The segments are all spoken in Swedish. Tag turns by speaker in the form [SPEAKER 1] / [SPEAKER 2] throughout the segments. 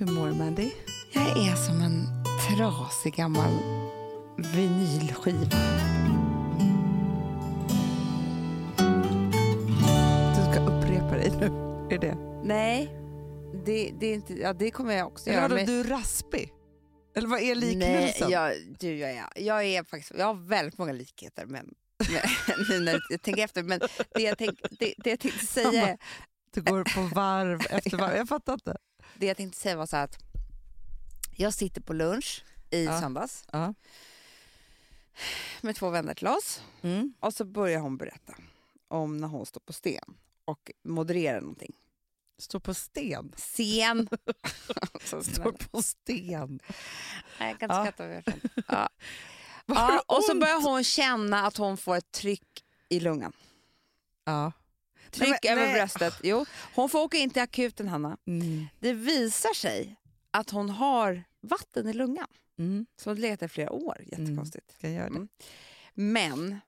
[SPEAKER 1] mår Mandy?
[SPEAKER 2] Jag är som en trasig gammal vinylskiva.
[SPEAKER 1] Du ska upprepa dig nu. Är det?
[SPEAKER 2] Nej, det, det, är inte, ja, det kommer jag också
[SPEAKER 1] Eller
[SPEAKER 2] göra.
[SPEAKER 1] vadå,
[SPEAKER 2] men-
[SPEAKER 1] du är raspig? Eller vad är
[SPEAKER 2] Nej,
[SPEAKER 1] liknelsen?
[SPEAKER 2] jag, du, jag, är- jag, är faktiskt, jag har väldigt många likheter, men, men, nu när jag tänker efter. Men det jag, tänk, det, det jag tänkte säga är
[SPEAKER 1] Du går på varv efter varv. Jag fattar inte.
[SPEAKER 2] Det jag tänkte säga var så här att jag sitter på lunch i
[SPEAKER 1] Ja.
[SPEAKER 2] söndags
[SPEAKER 1] Ja.
[SPEAKER 2] med två vänner till oss och så börjar hon berätta om när hon står på sten och modererar någonting.
[SPEAKER 1] Stå på sten.
[SPEAKER 2] Scen.
[SPEAKER 1] Stå
[SPEAKER 2] Så snälla.
[SPEAKER 1] på sten.
[SPEAKER 2] Nej, jag kan inte
[SPEAKER 1] Ja.
[SPEAKER 2] skratta mer. Ja.
[SPEAKER 1] Vad
[SPEAKER 2] Ja,
[SPEAKER 1] ont?
[SPEAKER 2] och så börjar hon känna att hon får ett tryck i lungan.
[SPEAKER 1] Ja.
[SPEAKER 2] Tryck
[SPEAKER 1] men-
[SPEAKER 2] över
[SPEAKER 1] nej.
[SPEAKER 2] bröstet. Jo, hon får åka in till akuten, Hanna.
[SPEAKER 1] Mm.
[SPEAKER 2] Det visar sig att hon har vatten i lungan
[SPEAKER 1] Mm.
[SPEAKER 2] som har legat i flera år. Jättekonstigt.
[SPEAKER 1] Ska jag göra det?
[SPEAKER 2] Mm. Men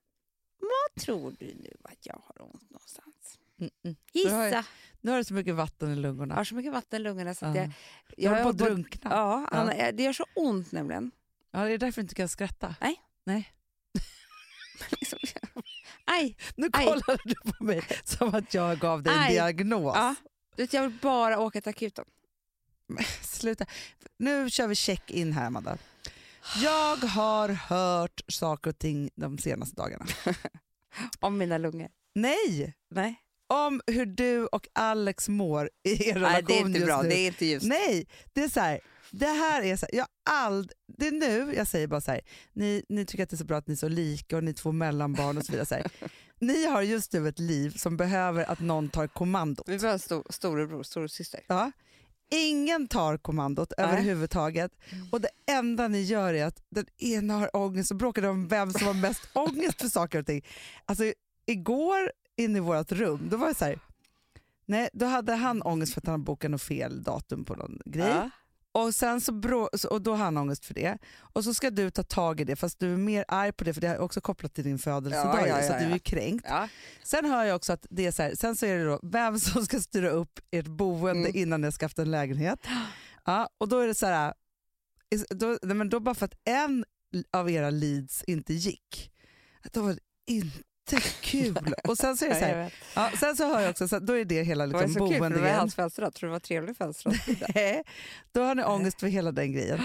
[SPEAKER 2] vad tror du nu att jag har ont någonstans?
[SPEAKER 1] Mm, mm. Du har ju-
[SPEAKER 2] Gissa!
[SPEAKER 1] Nu har du så mycket vatten i
[SPEAKER 2] Jag
[SPEAKER 1] lungorna.
[SPEAKER 2] har så mycket vatten i lungorna så att
[SPEAKER 1] Ja.
[SPEAKER 2] jag...
[SPEAKER 1] Du håller på
[SPEAKER 2] har
[SPEAKER 1] att drunkna.
[SPEAKER 2] Ja, Anna, jag- det gör så ont nämligen.
[SPEAKER 1] Ja, det är därför du inte kan skratta.
[SPEAKER 2] Liksom. Aj!
[SPEAKER 1] Nu
[SPEAKER 2] Aj.
[SPEAKER 1] kollade du på mig som att jag gav dig en
[SPEAKER 2] Aj.
[SPEAKER 1] diagnos.
[SPEAKER 2] Ja. Du vet, jag vill bara åka till akuten.
[SPEAKER 1] Sluta. Nu kör vi check-in här, Amanda. Jag har hört saker och ting de senaste dagarna.
[SPEAKER 2] Om mina lungor.
[SPEAKER 1] Nej!
[SPEAKER 2] Nej,
[SPEAKER 1] Om hur du och Alex mår i er relation
[SPEAKER 2] Nej det är inte
[SPEAKER 1] just
[SPEAKER 2] bra.
[SPEAKER 1] nu.
[SPEAKER 2] Det är inte ljust.
[SPEAKER 1] Nej, det är så här. Det här är så här, jag ald, det är nu jag säger bara så här, ni, ni tycker att det är så bra att ni är så lika och ni är två mellanbarn och så vidare. Så här. Ni har just nu ett liv som behöver att någon tar kommando.
[SPEAKER 2] Vi behöver en stor, storebror, storasyster.
[SPEAKER 1] Ja. Ingen tar kommandot
[SPEAKER 2] Nej. Mm.
[SPEAKER 1] överhuvudtaget och det enda ni gör är att den ena har ångest och bråkar om vem som har mest ångest för saker och ting. Alltså igår inne i vårt rum, då var det så här, nej då hade han ångest för att han bokade något fel datum på någon grej.
[SPEAKER 2] Ja.
[SPEAKER 1] Och, sen så brå- så- och då har han ångest för det. Och så ska du ta tag i det fast du är mer arg på det för det är också kopplat till din födelsedag
[SPEAKER 2] Ja, ja,
[SPEAKER 1] ju, så
[SPEAKER 2] ja,
[SPEAKER 1] att du är
[SPEAKER 2] ja.
[SPEAKER 1] ju kränkt.
[SPEAKER 2] Ja.
[SPEAKER 1] Sen hör jag också att det är så här, sen så är det då vem som ska styra upp ert boende
[SPEAKER 2] Mm.
[SPEAKER 1] innan ni ska haft en lägenhet. Ja, och då är det så här, is- då, nej, men då bara för att en av era leads inte gick, att då var det inte kul. och sen så är det så
[SPEAKER 2] Ja, jag
[SPEAKER 1] här,
[SPEAKER 2] vet.
[SPEAKER 1] ja, sen så hör jag också, så här, då är det hela
[SPEAKER 2] Det var ju
[SPEAKER 1] liksom
[SPEAKER 2] så kul för det var ju
[SPEAKER 1] boendegrejen.
[SPEAKER 2] hans födelsedag. Tror du det var en trevlig födelsedag?
[SPEAKER 1] Nej, då har ni ångest för hela den grejen.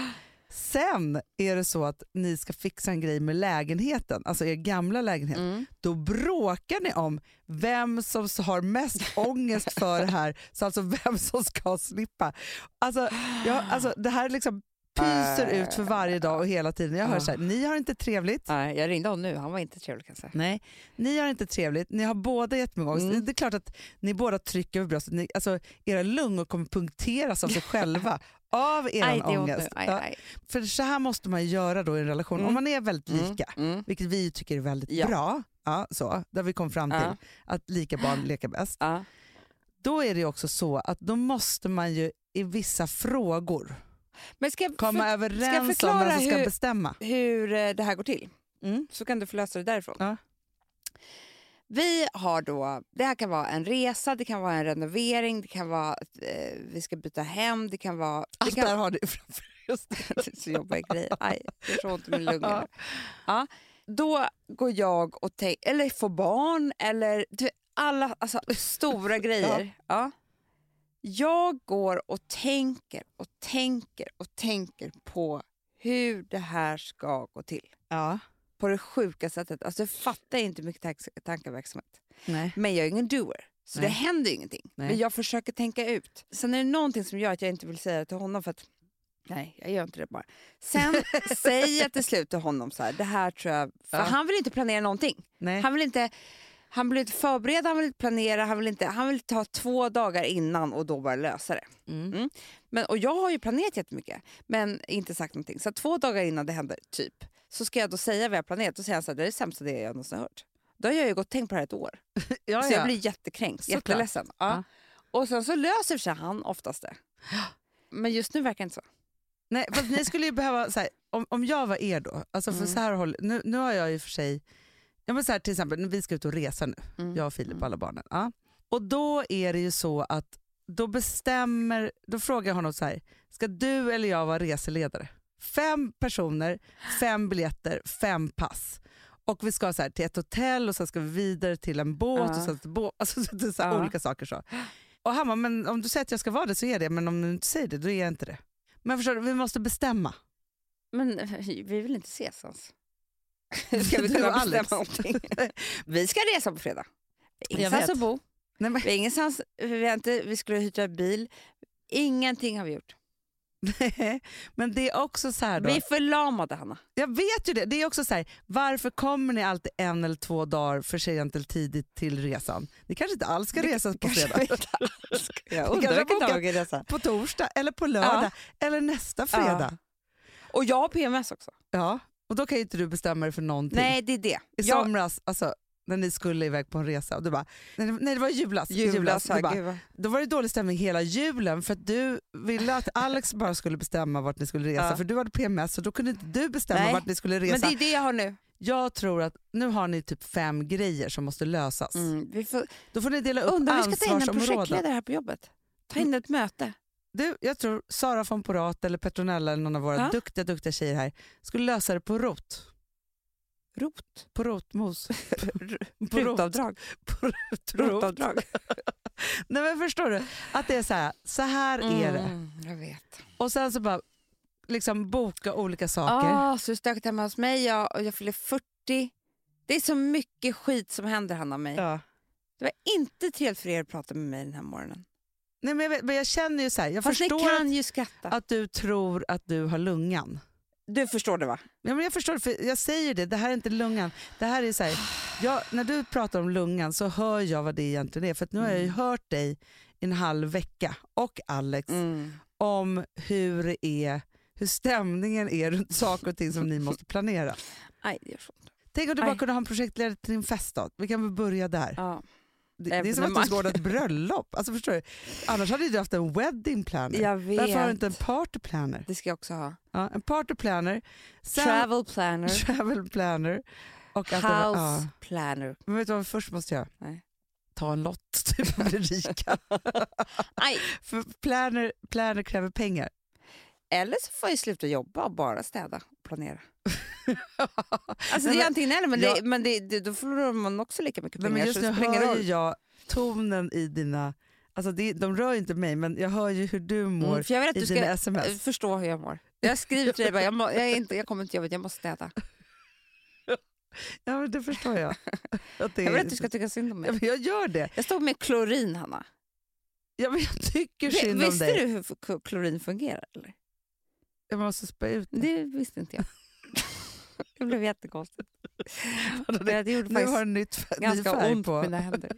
[SPEAKER 1] Sen är det så att ni ska fixa en grej med lägenheten, alltså er gamla lägenhet.
[SPEAKER 2] Mm.
[SPEAKER 1] Då bråkar ni om vem som har mest ångest för det här, så alltså vem som ska slippa. Alltså, jag, alltså det här liksom pyser ut för varje dag och hela tiden. Jag hör
[SPEAKER 2] Ah.
[SPEAKER 1] så här, ni har inte trevligt.
[SPEAKER 2] Nej, jag ringde honom nu. Han var inte trevlig kan jag säga.
[SPEAKER 1] Nej, ni har inte trevligt, ni har båda jättemycket ångest.
[SPEAKER 2] Mm.
[SPEAKER 1] Det är klart att ni båda trycker över bröstet. Ni, alltså, era lungor kommer punkteras av sig själva av er
[SPEAKER 2] Aj, det är ont
[SPEAKER 1] ångest.
[SPEAKER 2] nu. Aj,
[SPEAKER 1] Ja,
[SPEAKER 2] aj.
[SPEAKER 1] För så här måste man göra då i en relation,
[SPEAKER 2] Mm.
[SPEAKER 1] om man är väldigt
[SPEAKER 2] Mm,
[SPEAKER 1] lika,
[SPEAKER 2] Mm.
[SPEAKER 1] vilket vi tycker är väldigt
[SPEAKER 2] Ja.
[SPEAKER 1] bra, ja, så, där vi kom fram till
[SPEAKER 2] Ja.
[SPEAKER 1] att lika barn leker bäst.
[SPEAKER 2] Ja.
[SPEAKER 1] Då är det ju också så att då måste man ju i vissa frågor
[SPEAKER 2] Men ska jag,
[SPEAKER 1] komma
[SPEAKER 2] för, jag
[SPEAKER 1] överens om
[SPEAKER 2] förklara
[SPEAKER 1] vem som ska
[SPEAKER 2] hur-
[SPEAKER 1] bestämma.
[SPEAKER 2] hur eh, det här går till?
[SPEAKER 1] Mm.
[SPEAKER 2] Så kan du få lösa det därifrån.
[SPEAKER 1] Ja.
[SPEAKER 2] Vi har då, det här kan vara en resa, det kan vara en renovering, det kan vara att eh, vi ska byta hem, det kan vara... Det
[SPEAKER 1] Allt det
[SPEAKER 2] kan,
[SPEAKER 1] här har du framför just det.
[SPEAKER 2] det är så jobbiga grejer. Aj, det är så ont i min lunga. nu. Ja. Då går jag och tänker, eller får barn, eller du, vet, alla alltså, stora grejer. Ja. Jag går och tänker och tänker och tänker på hur det här ska gå till.
[SPEAKER 1] Ja.
[SPEAKER 2] På det sjuka sättet. Alltså, jag fattar inte hur mycket tank- tankeverksamhet.
[SPEAKER 1] Nej.
[SPEAKER 2] Men jag är ingen doer, så
[SPEAKER 1] Nej.
[SPEAKER 2] det händer ju ingenting.
[SPEAKER 1] Nej.
[SPEAKER 2] Men jag försöker tänka ut. Sen är det någonting som gör att jag inte vill säga det till honom för att nej, jag gör inte det bara. Sen säger jag till slut till honom så här, det här tror jag, för
[SPEAKER 1] Ja.
[SPEAKER 2] han vill inte planera någonting.
[SPEAKER 1] Nej.
[SPEAKER 2] Han vill inte han vill inte förbereda, han vill inte planera, han vill, inte, han vill ta två dagar innan och då bara lösa det.
[SPEAKER 1] Mm.
[SPEAKER 2] Mm. Men, och jag har ju planerat jättemycket, men inte sagt någonting. Så att två dagar innan det händer, typ, så ska jag då säga vad jag har planerat och säga så här, det är det sämsta det jag någonsin har hört. Då har jag ju gått och tänkt på det här ett år.
[SPEAKER 1] Ja,
[SPEAKER 2] Så
[SPEAKER 1] ja.
[SPEAKER 2] jag blir jättekränkt,
[SPEAKER 1] Såklart.
[SPEAKER 2] jätteledsen. Ja.
[SPEAKER 1] Ja.
[SPEAKER 2] Och sen så löser sig han oftast det. Men just nu verkar det inte så.
[SPEAKER 1] Nej, fast ni skulle ju behöva, så här, om, om jag var er då, alltså för
[SPEAKER 2] Mm.
[SPEAKER 1] så här håll, nu, nu har jag ju för sig, ja men så här, till exempel när vi ska ut och resa nu,
[SPEAKER 2] Mm.
[SPEAKER 1] jag och Filip och alla barnen. Ja. Och då är det ju så att då bestämmer, då frågar jag honom så här, ska du eller jag vara reseledare? Fem personer, fem biljetter, fem pass. Och vi ska så här, till ett hotell och sen ska vi vidare till en båt.
[SPEAKER 2] Ja.
[SPEAKER 1] Och sen till bå- alltså, så det är så här
[SPEAKER 2] Ja.
[SPEAKER 1] olika saker. så. Och han bara, men om du säger att jag ska vara det så är jag det, men om du inte säger det då är jag inte det. Men förstår du, vi måste bestämma.
[SPEAKER 2] Men eh, vi vill inte ses ens. Ska vi
[SPEAKER 1] Du
[SPEAKER 2] kunna
[SPEAKER 1] och Alex.
[SPEAKER 2] bestämma någonting? Vi ska resa på fredag. Vi har
[SPEAKER 1] Jag
[SPEAKER 2] Ingenstans
[SPEAKER 1] vet.
[SPEAKER 2] att bo.
[SPEAKER 1] Nej, men,
[SPEAKER 2] Vi, har ingenstans, vi, har inte, vi skulle hyra bil. Ingenting har vi gjort.
[SPEAKER 1] men det är också så här då.
[SPEAKER 2] Vi är förlamade, Hanna.
[SPEAKER 1] Jag vet ju det. Det är också så här, varför kommer ni alltid en eller två dagar för sent eller tidigt till resan? Ni kanske inte alls ska resa på
[SPEAKER 2] kanske
[SPEAKER 1] fredag.
[SPEAKER 2] vi inte alls ska. Jag
[SPEAKER 1] Vi
[SPEAKER 2] undrar
[SPEAKER 1] kanske
[SPEAKER 2] vilken
[SPEAKER 1] bokar-
[SPEAKER 2] dag vi reser.
[SPEAKER 1] På torsdag eller på lördag eller nästa fredag.
[SPEAKER 2] Och jag har PMS också.
[SPEAKER 1] Ja. Och då kan ju inte du bestämma dig för någonting.
[SPEAKER 2] Nej, det är det.
[SPEAKER 1] I
[SPEAKER 2] Jag,
[SPEAKER 1] somras, alltså, när ni skulle iväg på en resa och du bara, nej, nej det var i julas. i
[SPEAKER 2] julas,
[SPEAKER 1] julas. Du
[SPEAKER 2] här,
[SPEAKER 1] bara,
[SPEAKER 2] gud vad-
[SPEAKER 1] då var det dålig stämning hela julen för att du ville att Alex bara skulle bestämma vart ni skulle resa
[SPEAKER 2] Ja.
[SPEAKER 1] för du hade PMS och då kunde inte du bestämma
[SPEAKER 2] Nej.
[SPEAKER 1] vart ni skulle resa.
[SPEAKER 2] Men det är det jag har nu.
[SPEAKER 1] Jag tror att nu har ni typ fem grejer som måste lösas.
[SPEAKER 2] Mm, vi får,
[SPEAKER 1] Då får ni dela upp
[SPEAKER 2] undrar om vi ska ta in en
[SPEAKER 1] ansvarsområden.
[SPEAKER 2] projektledare här på jobbet. Ta in ett möte.
[SPEAKER 1] Du, jag tror Sara von Porat eller Petronella eller någon av våra
[SPEAKER 2] Ja.
[SPEAKER 1] duktiga, duktiga tjejer här skulle lösa det på rot.
[SPEAKER 2] Rot.
[SPEAKER 1] På rotmos. på rot.
[SPEAKER 2] Rutavdrag.
[SPEAKER 1] På rot.
[SPEAKER 2] Rotavdrag.
[SPEAKER 1] Nej men förstår du? Att det är så här, så här är det.
[SPEAKER 2] Mm, jag vet.
[SPEAKER 1] Och sen så bara liksom boka olika saker.
[SPEAKER 2] Ah, så stökigt hemma hos mig. Jag, och jag fyller 40. Det är så mycket skit som händer Hanna och mig.
[SPEAKER 1] Ja.
[SPEAKER 2] Det var inte trevligt för er att prata med mig den här morgonen.
[SPEAKER 1] Nej, men, jag vet, men jag känner ju så här, jag
[SPEAKER 2] Fast ni
[SPEAKER 1] förstår
[SPEAKER 2] kan ju skratta.
[SPEAKER 1] att, att du tror att du har lungan.
[SPEAKER 2] du förstår det va?
[SPEAKER 1] Ja, men jag förstår, för jag säger det, det här är inte lungan. Det här är så här, jag, när du pratar om lungan så hör jag vad det egentligen är. För att nu har
[SPEAKER 2] Mm.
[SPEAKER 1] jag ju hört dig i en halv vecka och Alex
[SPEAKER 2] Mm.
[SPEAKER 1] om hur, det är, hur stämningen är runt saker och ting som ni måste planera.
[SPEAKER 2] Nej, det gör så ont.
[SPEAKER 1] Tänk om du bara
[SPEAKER 2] Aj.
[SPEAKER 1] kunde ha en projektledare till din fest då. Vi kan väl börja där.
[SPEAKER 2] Ja.
[SPEAKER 1] Det, det är som att du
[SPEAKER 2] Evenemang.
[SPEAKER 1] ska ordna ett bröllop. Alltså, förstår du? Annars hade ju du haft en wedding planner.
[SPEAKER 2] Jag vet.
[SPEAKER 1] Varför har du inte en party planner?
[SPEAKER 2] Det ska jag också ha.
[SPEAKER 1] Ja, en party planner. Sen-
[SPEAKER 2] Travel planner.
[SPEAKER 1] Travel planner. Och allt det där.
[SPEAKER 2] House
[SPEAKER 1] Ja.
[SPEAKER 2] planner.
[SPEAKER 1] Men vet du vad vi först måste göra?
[SPEAKER 2] Nej.
[SPEAKER 1] Ta en lott, typ och bli rika.
[SPEAKER 2] Nej.
[SPEAKER 1] För planer, planer kräver pengar.
[SPEAKER 2] Eller så får jag sluta jobba och bara städa och planera.
[SPEAKER 1] Nej,
[SPEAKER 2] Alltså det är
[SPEAKER 1] men-
[SPEAKER 2] antingen eller, men, det,
[SPEAKER 1] jag-
[SPEAKER 2] men det, det, då förlorar man också lika mycket
[SPEAKER 1] Nej,
[SPEAKER 2] pengar.
[SPEAKER 1] men just
[SPEAKER 2] så
[SPEAKER 1] nu
[SPEAKER 2] det spelar ingen
[SPEAKER 1] hör
[SPEAKER 2] roll.
[SPEAKER 1] ju jag tonen i dina... Alltså det, de rör ju inte mig, men jag hör ju hur du mår
[SPEAKER 2] Mm, för jag vet att
[SPEAKER 1] i
[SPEAKER 2] du
[SPEAKER 1] dina
[SPEAKER 2] ska eh,
[SPEAKER 1] sms.
[SPEAKER 2] förstå hur jag mår. Jag skriver till dig bara, jag, må, jag, är inte, jag kommer inte till jobbet, jag måste städa.
[SPEAKER 1] Ja, men det förstår jag. Att det
[SPEAKER 2] Jag
[SPEAKER 1] är-
[SPEAKER 2] vill att du ska tycka synd om
[SPEAKER 1] Ja,
[SPEAKER 2] mig.
[SPEAKER 1] men jag gör det.
[SPEAKER 2] Jag står med klorin, Hanna.
[SPEAKER 1] Ja, men jag tycker
[SPEAKER 2] Vi-
[SPEAKER 1] synd om
[SPEAKER 2] Visste
[SPEAKER 1] dig.
[SPEAKER 2] du hur f- klorin fungerar? Eller?
[SPEAKER 1] Jag måste spä ut det.
[SPEAKER 2] Det visste inte jag. det blev jättekonstigt. Jag gjorde
[SPEAKER 1] Nu har
[SPEAKER 2] faktiskt
[SPEAKER 1] du nytt fär- ny
[SPEAKER 2] ganska
[SPEAKER 1] färg
[SPEAKER 2] ont på
[SPEAKER 1] på.
[SPEAKER 2] mina händer.
[SPEAKER 1] Ny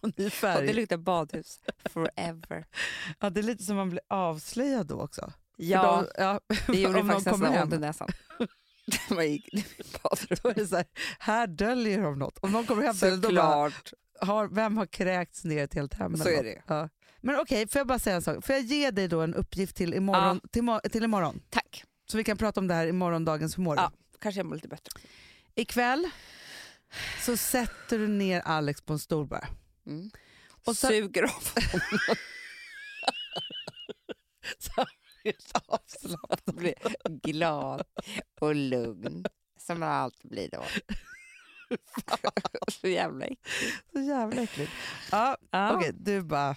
[SPEAKER 2] Och det
[SPEAKER 1] färg.
[SPEAKER 2] luktar badhus forever.
[SPEAKER 1] Ja, det är lite som man blir avslöjad då också. För
[SPEAKER 2] Ja,
[SPEAKER 1] de- ja,
[SPEAKER 2] det gjorde
[SPEAKER 1] om någon
[SPEAKER 2] faktiskt
[SPEAKER 1] kommer
[SPEAKER 2] nästan
[SPEAKER 1] hem.
[SPEAKER 2] ont i näsan. Man gick i
[SPEAKER 1] Då
[SPEAKER 2] badrummet.
[SPEAKER 1] är det så här, här döljer de något. Om någon kommer hem till en, då bara,
[SPEAKER 2] Såklart.
[SPEAKER 1] har, vem har kräkts ner i ett helt hem? eller
[SPEAKER 2] Så är
[SPEAKER 1] något?
[SPEAKER 2] det.
[SPEAKER 1] Ja. Men okej, får jag bara säga en sak? Får jag ge dig då en uppgift till imorgon, till, mo- till imorgon?
[SPEAKER 2] Tack.
[SPEAKER 1] Så vi kan prata om det här i morgondagens humor.
[SPEAKER 2] Ja. Kanske jag mår lite bättre.
[SPEAKER 1] Ikväll så sätter du ner Alex på en stol bara.
[SPEAKER 2] Mm.
[SPEAKER 1] Och
[SPEAKER 2] Och
[SPEAKER 1] sen-
[SPEAKER 2] Suger av och blir glad och lugn. Som man alltid blir då. Så jävla äckligt.
[SPEAKER 1] Så jävla äckligt. Ja,
[SPEAKER 2] Ja.
[SPEAKER 1] Okej, du bara...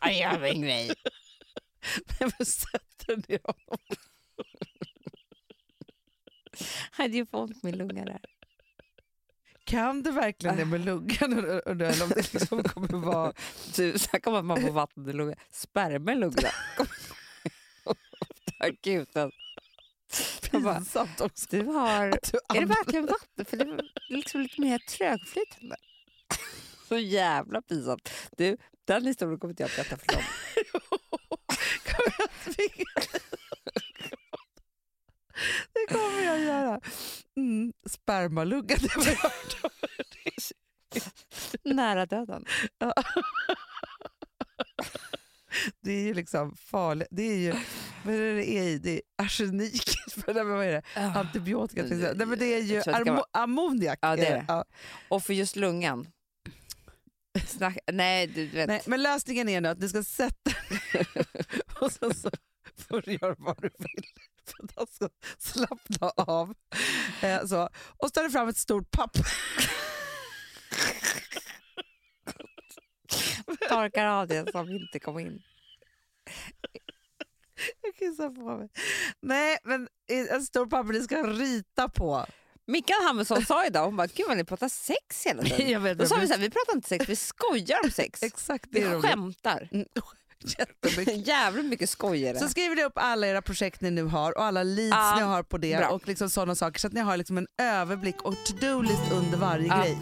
[SPEAKER 2] Aj, Jag har en grej.
[SPEAKER 1] sätter ner honom.
[SPEAKER 2] Hade ju fått min lunga där.
[SPEAKER 1] Kan du verkligen det med luggen? Undrar jag om det liksom kommer vara...
[SPEAKER 2] Du, sen typ, kommer man få vatten i lungan. Sperma i lungan. Akuten. Jag bara,
[SPEAKER 1] Pinsamt också.
[SPEAKER 2] alltså. Du har...
[SPEAKER 1] Du
[SPEAKER 2] Är det verkligen vatten? För det är liksom lite mer trögflytande. Så jävla pinsamt. Du, den historien kommer inte jag berätta för någon.
[SPEAKER 1] Det kommer jag göra. Mm, spermalugga, det var jag hört om.
[SPEAKER 2] Nära döden.
[SPEAKER 1] Det är ju liksom farligt. Det är ju, vad är det det är i? Det är arsenik. Nej, men vad är det?
[SPEAKER 2] Ah,
[SPEAKER 1] Antibiotika till exempel. Nej, men Det är ju
[SPEAKER 2] Jag tror att det kan
[SPEAKER 1] armo- ammoniak.
[SPEAKER 2] Ja, det är det.
[SPEAKER 1] Ja.
[SPEAKER 2] Och för just lungan. Snack, nej, du vet.
[SPEAKER 1] Nej, men lösningen är nu att du ska sätta och sen så får du göra vad du vill för att han ska slappna av. Eh, så. Och så tar du fram ett stort papper.
[SPEAKER 2] Torkar av det som inte kom in.
[SPEAKER 1] Jag kissar på mig. Nej, men i- ett stort papper du ska rita på.
[SPEAKER 2] Mikael Hamilton sa idag, hon bara, gud vad ni pratar sex hela tiden.
[SPEAKER 1] vet,
[SPEAKER 2] Då sa vi så här, vi pratar inte sex, vi skojar om sex.
[SPEAKER 1] Exakt, det
[SPEAKER 2] Vi
[SPEAKER 1] är roligt. Mm,
[SPEAKER 2] skämtar.
[SPEAKER 1] Jättemycket.
[SPEAKER 2] Jävligt mycket skojare.
[SPEAKER 1] Så skriver ni upp alla era projekt ni nu har och alla leads
[SPEAKER 2] Ja,
[SPEAKER 1] ni har på det
[SPEAKER 2] bra.
[SPEAKER 1] och liksom sådana saker så att ni har liksom en överblick och to-do-list under varje
[SPEAKER 2] Ja.
[SPEAKER 1] grej.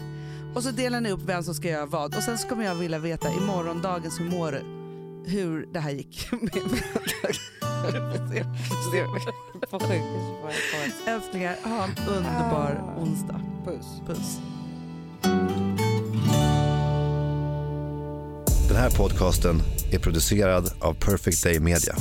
[SPEAKER 1] Och så delar ni upp vem som ska göra vad och sen så kommer jag vilja veta i morgondagens hur mår du? Hur det här gick.
[SPEAKER 2] på sjukhus var jag på ett
[SPEAKER 1] Älsklingar, ha en underbar
[SPEAKER 2] Ah.
[SPEAKER 1] onsdag.
[SPEAKER 2] puss.
[SPEAKER 1] Puss.
[SPEAKER 3] Den här podcasten är producerad av Perfect Day Media.